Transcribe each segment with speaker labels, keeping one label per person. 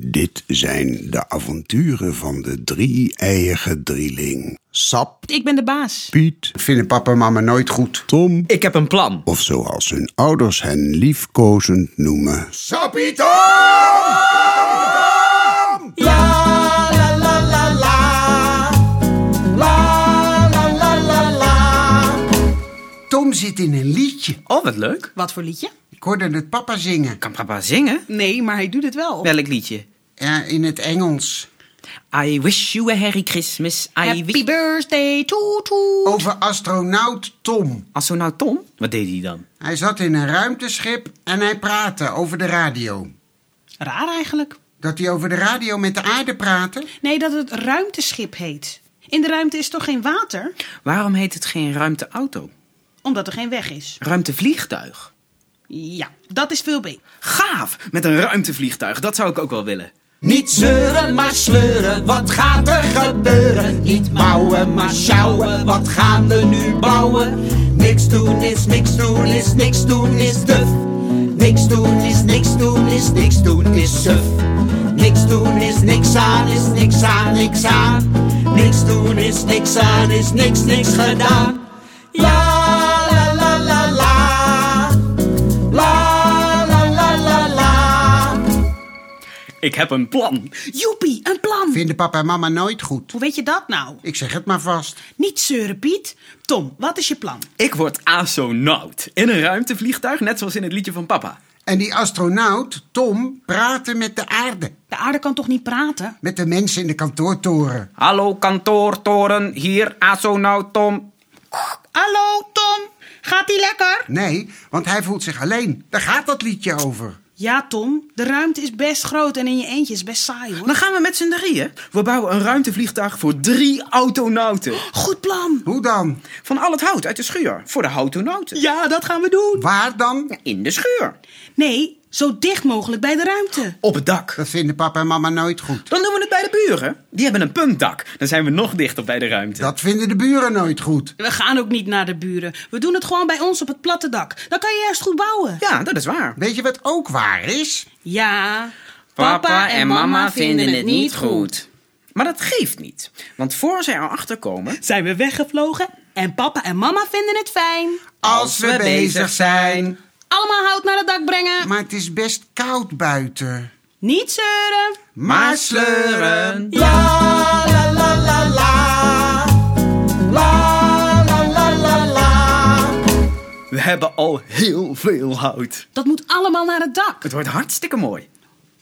Speaker 1: Dit zijn de avonturen van de drie-eiige drieling. Sap,
Speaker 2: Ik ben de baas.
Speaker 1: Piet, vinden papa en mama nooit goed. Tom,
Speaker 3: Ik heb een plan.
Speaker 1: of zoals hun ouders hen liefkozend noemen. Sapito!
Speaker 4: Tom zit in een liedje.
Speaker 3: Oh, wat leuk.
Speaker 2: Wat voor liedje?
Speaker 4: Ik hoorde het papa zingen.
Speaker 3: Kan papa zingen?
Speaker 2: Nee, maar hij doet het wel.
Speaker 3: Welk liedje?
Speaker 4: Ja, in het Engels.
Speaker 3: I wish you a Merry Christmas. I wish...
Speaker 2: Happy birthday to to.
Speaker 4: Over astronaut Tom.
Speaker 3: Als zo nou Tom? Wat deed hij dan?
Speaker 4: Hij zat in een ruimteschip en hij praatte over de radio.
Speaker 2: Raar eigenlijk.
Speaker 4: Dat hij over de radio met de aarde praatte?
Speaker 2: Nee, dat het ruimteschip heet. In de ruimte is toch geen water?
Speaker 3: Waarom heet het geen ruimteauto?
Speaker 2: Omdat er geen weg is.
Speaker 3: Ruimtevliegtuig.
Speaker 2: Ja, dat is veel beter.
Speaker 3: Gaaf! Met een ruimtevliegtuig, dat zou ik ook wel willen.
Speaker 5: Niet zeuren, maar sleuren, wat gaat er gebeuren? Niet bouwen, maar sjouwen, wat gaan we nu bouwen? Niks doen is niks doen is niks doen is duf. Niks doen is niks doen is niks doen is suf. Niks doen is niks aan is niks aan niks aan. Niks doen is niks aan is niks niks gedaan. Ja, la la la la. La la la la la.
Speaker 3: Ik heb een plan.
Speaker 2: Joepie, een plan.
Speaker 4: Vinden papa en mama nooit goed.
Speaker 2: Hoe weet je dat nou?
Speaker 4: Ik zeg het maar vast.
Speaker 2: Niet zeuren, Piet. Tom, wat is je plan?
Speaker 3: Ik word astronaut. In een ruimtevliegtuig, net zoals in het liedje van papa.
Speaker 4: En die astronaut, Tom, praatte met de aarde.
Speaker 2: De aarde kan toch niet praten?
Speaker 4: Met de mensen in de kantoortoren.
Speaker 3: Hallo kantoortoren, hier astronaut Tom.
Speaker 2: Hallo, Tom. Gaat die lekker?
Speaker 4: Nee, want hij voelt zich alleen. Daar gaat dat liedje over.
Speaker 2: Ja, Tom. De ruimte is best groot en in je eentje is best saai, hoor.
Speaker 3: Dan gaan we met z'n drieën. We bouwen een ruimtevliegtuig voor drie autonauten.
Speaker 2: Goed plan.
Speaker 4: Hoe dan?
Speaker 3: Van al het hout uit de schuur. Voor de houtonauten.
Speaker 2: Ja, dat gaan we doen.
Speaker 4: Waar dan?
Speaker 3: In de schuur.
Speaker 2: Nee, zo dicht mogelijk bij de ruimte.
Speaker 3: Op het dak.
Speaker 4: Dat vinden papa en mama nooit goed.
Speaker 3: Dan doen we het bij de buren. Die hebben een puntdak. Dan zijn we nog dichter bij de ruimte.
Speaker 4: Dat vinden de buren nooit goed.
Speaker 2: We gaan ook niet naar de buren. We doen het gewoon bij ons op het platte dak. Dan kan je juist goed bouwen.
Speaker 3: Ja, dat is waar.
Speaker 4: Weet je wat ook waar is?
Speaker 2: Ja.
Speaker 3: Maar dat geeft niet. Want voor zij erachter komen...
Speaker 2: Zijn we weggevlogen en papa en mama vinden het fijn.
Speaker 4: Als we bezig zijn.
Speaker 2: Allemaal hout naar het dak brengen.
Speaker 4: Maar het is best koud buiten.
Speaker 2: Niet zeuren.
Speaker 4: Maar sleuren.
Speaker 5: La la la la la. La la la la la.
Speaker 3: We hebben al heel veel hout.
Speaker 2: Dat moet allemaal naar het dak.
Speaker 3: Het wordt hartstikke mooi.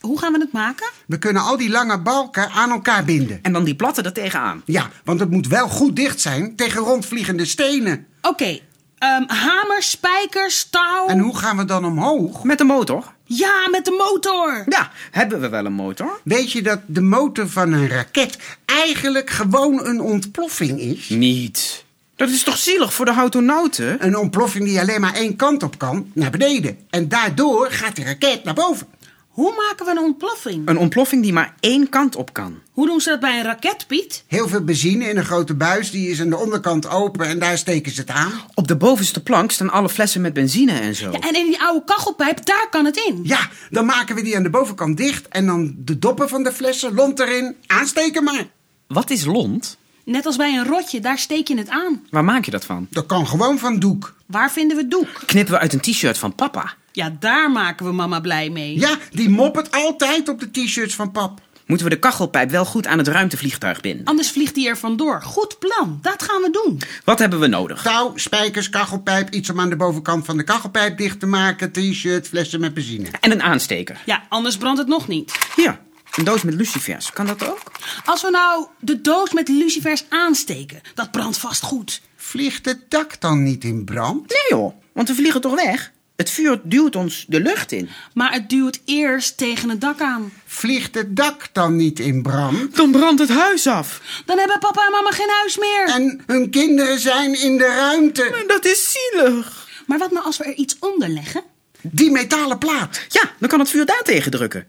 Speaker 2: Hoe gaan we het maken?
Speaker 4: We kunnen al die lange balken aan elkaar binden.
Speaker 3: En dan die platten er tegenaan.
Speaker 4: Ja, want het moet wel goed dicht zijn tegen rondvliegende stenen.
Speaker 2: Oké. ehm, hamers, spijkers, touw.
Speaker 4: En hoe gaan we dan omhoog?
Speaker 3: Met de motor.
Speaker 2: Ja, met de motor.
Speaker 3: Ja, hebben we wel een motor?
Speaker 4: Weet je dat de motor van een raket eigenlijk gewoon een ontploffing is?
Speaker 3: Niet. Dat is toch zielig voor de houtonauten?
Speaker 4: Een ontploffing die alleen maar één kant op kan, naar beneden. En daardoor gaat de raket naar boven.
Speaker 2: Hoe maken we een ontploffing?
Speaker 3: Een ontploffing die maar één kant op kan.
Speaker 2: Hoe doen ze dat bij een raket, Piet?
Speaker 4: Heel veel benzine in een grote buis, die is aan de onderkant open en daar steken ze het aan.
Speaker 3: Op de bovenste plank staan alle flessen met benzine en zo.
Speaker 2: En in die oude kachelpijp, daar kan het in.
Speaker 4: Ja, dan maken we die aan de bovenkant dicht en dan de doppen van de flessen, lont erin, aansteken maar.
Speaker 3: Wat is lont?
Speaker 2: Net als bij een rotje, daar steek je het aan.
Speaker 3: Waar maak je dat van?
Speaker 4: Dat kan gewoon van doek.
Speaker 2: Waar vinden we het doek?
Speaker 3: Knippen we uit een t-shirt van papa.
Speaker 2: Ja, daar maken we mama blij mee.
Speaker 4: Ja, die moppert altijd op de t-shirts van pap.
Speaker 3: Moeten we de kachelpijp wel goed aan het ruimtevliegtuig binden?
Speaker 2: Anders vliegt hij er vandoor. Goed plan, dat gaan we doen.
Speaker 3: Wat hebben we nodig?
Speaker 4: Touw, spijkers, kachelpijp, iets om aan de bovenkant van de kachelpijp dicht te maken, t-shirt, flessen met benzine.
Speaker 3: En een aansteker.
Speaker 2: Ja, anders brandt het nog niet.
Speaker 3: Hier, een doos met lucifers. Kan dat ook?
Speaker 2: Als we nou de doos met lucifers aansteken, dat brandt vast goed.
Speaker 4: Vliegt het dak dan niet in brand?
Speaker 3: Nee joh, want we vliegen toch weg? Het vuur duwt ons de lucht in.
Speaker 2: Maar het duwt eerst tegen het dak aan.
Speaker 4: Vliegt het dak dan niet in brand?
Speaker 3: Dan brandt het huis af.
Speaker 2: Dan hebben papa en mama geen huis meer.
Speaker 4: En hun kinderen zijn in de ruimte.
Speaker 3: Dat is zielig.
Speaker 2: Maar wat nou als we er iets onder leggen?
Speaker 4: Die metalen plaat,
Speaker 3: Ja, dan kan het vuur daar tegen drukken.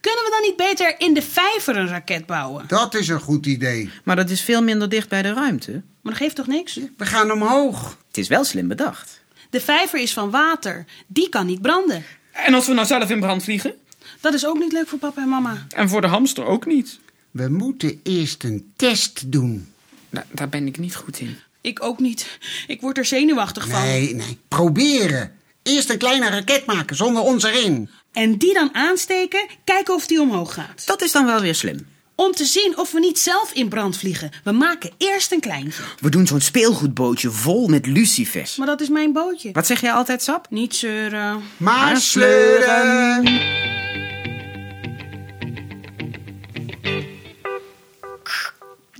Speaker 2: Kunnen we dan niet beter in de vijver een raket bouwen?
Speaker 4: dat is een goed idee.
Speaker 3: Maar dat is veel minder dicht bij de ruimte.
Speaker 2: Maar dat geeft toch niks?
Speaker 4: We gaan omhoog.
Speaker 3: Het is wel slim bedacht.
Speaker 2: De vijver is van water. Die kan niet branden.
Speaker 3: En als we nou zelf in brand vliegen?
Speaker 2: Dat is ook niet leuk voor papa en mama.
Speaker 6: En voor de hamster ook niet.
Speaker 4: We moeten eerst een test doen.
Speaker 3: Nou,
Speaker 6: Da- daar ben ik niet goed in.
Speaker 2: Ik ook niet. Ik word er zenuwachtig van.
Speaker 4: Nee, nee. Proberen. Eerst een kleine raket maken zonder ons erin.
Speaker 2: En die dan aansteken, kijken of die omhoog gaat.
Speaker 3: Dat is dan wel weer slim.
Speaker 2: Om te zien of we niet zelf in brand vliegen. We maken eerst een kleintje.
Speaker 3: We doen zo'n speelgoedbootje vol met lucifers.
Speaker 2: Maar dat is mijn bootje.
Speaker 3: Wat zeg jij altijd, Sap?
Speaker 2: Niet zeuren.
Speaker 4: Maar sleuren.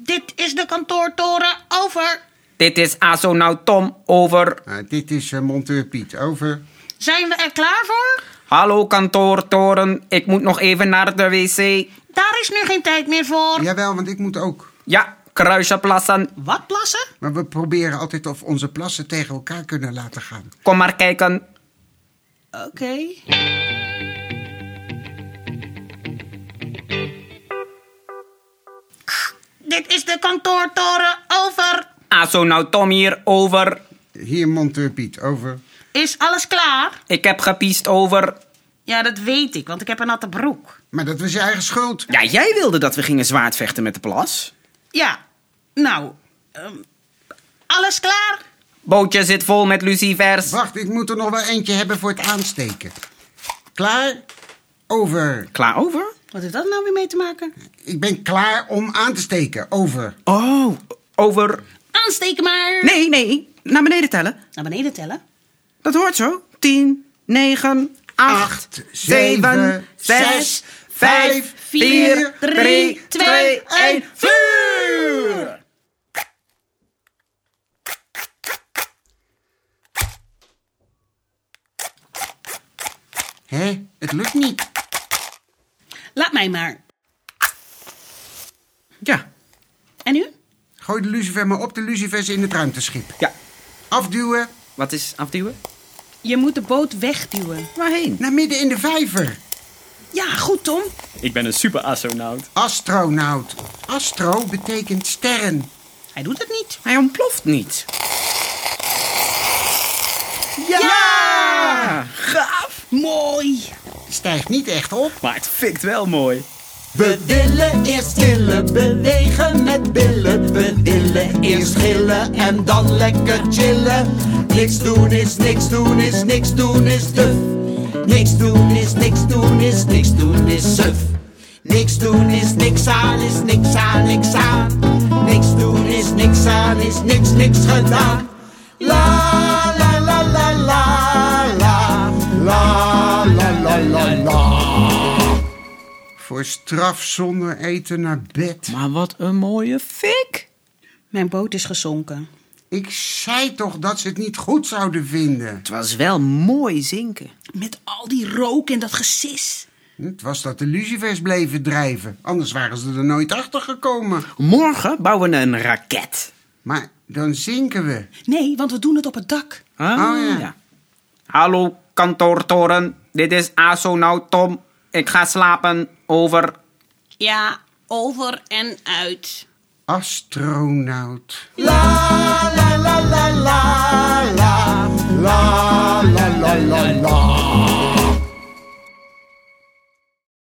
Speaker 2: Dit is de kantoortoren, over.
Speaker 7: Dit is ASO nou Tom, over.
Speaker 4: Ah, dit is eh, monteur Piet. Over.
Speaker 2: Zijn we er klaar voor?
Speaker 7: Hallo kantoortoren, ik moet nog even naar de wc.
Speaker 2: Daar is nu geen tijd meer voor.
Speaker 4: Jawel, want ik moet ook.
Speaker 7: Ja, kruisenplassen,
Speaker 2: Wat plassen?
Speaker 4: Maar we proberen altijd of onze plassen tegen elkaar kunnen laten gaan.
Speaker 7: kom maar kijken.
Speaker 2: Oké. Dit is de kantoortoren, over.
Speaker 7: ASO nou Tom hier, over.
Speaker 4: Hier monteur Piet. Over.
Speaker 2: Is alles klaar?
Speaker 7: Ik heb gepiest, over.
Speaker 2: Ja, dat weet ik, want ik heb een natte broek.
Speaker 4: Maar dat was je eigen schuld.
Speaker 3: Ja, jij wilde dat we gingen zwaardvechten met de plas.
Speaker 2: Ja, nou, ehm, alles klaar?
Speaker 7: Bootje zit vol met lucifers.
Speaker 4: Wacht, ik moet er nog wel eentje hebben voor het aansteken. Klaar? Over.
Speaker 3: Klaar over?
Speaker 2: Wat heeft dat nou weer mee te maken?
Speaker 4: Ik ben klaar om aan te steken. Over.
Speaker 3: Oh,
Speaker 7: Over.
Speaker 2: Aansteken maar!
Speaker 3: nee, nee. Naar beneden tellen.
Speaker 2: Naar beneden tellen.
Speaker 3: Dat hoort zo. 10, 9, 8, 7, 6, 5, 4, 3, 2, 1, vuur!
Speaker 4: Hé, het lukt niet.
Speaker 2: Laat mij maar.
Speaker 3: Ja,
Speaker 2: En nu?
Speaker 4: Gooi de lucifer maar op de lucifers in het ruimteschip.
Speaker 3: ja.
Speaker 4: Afduwen
Speaker 3: Wat is afduwen?
Speaker 2: Je moet de boot wegduwen.
Speaker 3: Waarheen?
Speaker 4: naar midden in de vijver.
Speaker 2: Ja, goed, Tom.
Speaker 8: Ik ben een super astronaut.
Speaker 4: Astronaut. Astro betekent sterren.
Speaker 2: Hij doet het niet.
Speaker 3: Hij ontploft niet. Ja! Gaaf!
Speaker 2: Mooi.
Speaker 4: Stijgt niet echt op.
Speaker 8: Maar het fikt wel mooi.
Speaker 9: We willen eerst chillen, bewegen met billen. We willen eerst gillen en dan lekker chillen. Niks doen is niks doen is niks doen is duf. Niks doen is niks doen is niks doen is suf. Niks doen is niks aan is niks aan niks aan. Niks doen is niks aan is niks niks gedaan. La la la la la la la la la la la.
Speaker 4: Voor straf zonder eten naar bed.
Speaker 3: Maar wat een mooie fik!
Speaker 2: Mijn boot is gezonken.
Speaker 4: Ik zei toch dat ze het niet goed zouden vinden.
Speaker 3: Het was wel mooi zinken.
Speaker 2: Met al die rook en dat gesis.
Speaker 4: Het was dat de lucifers bleven drijven. Anders waren ze er nooit achter gekomen.
Speaker 3: Morgen bouwen we een raket.
Speaker 4: Maar dan zinken we.
Speaker 2: Nee, want we doen het op het dak.
Speaker 3: Ah,
Speaker 4: ja.
Speaker 7: Hallo kantoortoren, dit is ASO nou Tom. Ik ga slapen, over.
Speaker 2: Ja, over en uit.
Speaker 4: Astronaut.
Speaker 9: la la la la la la la la la la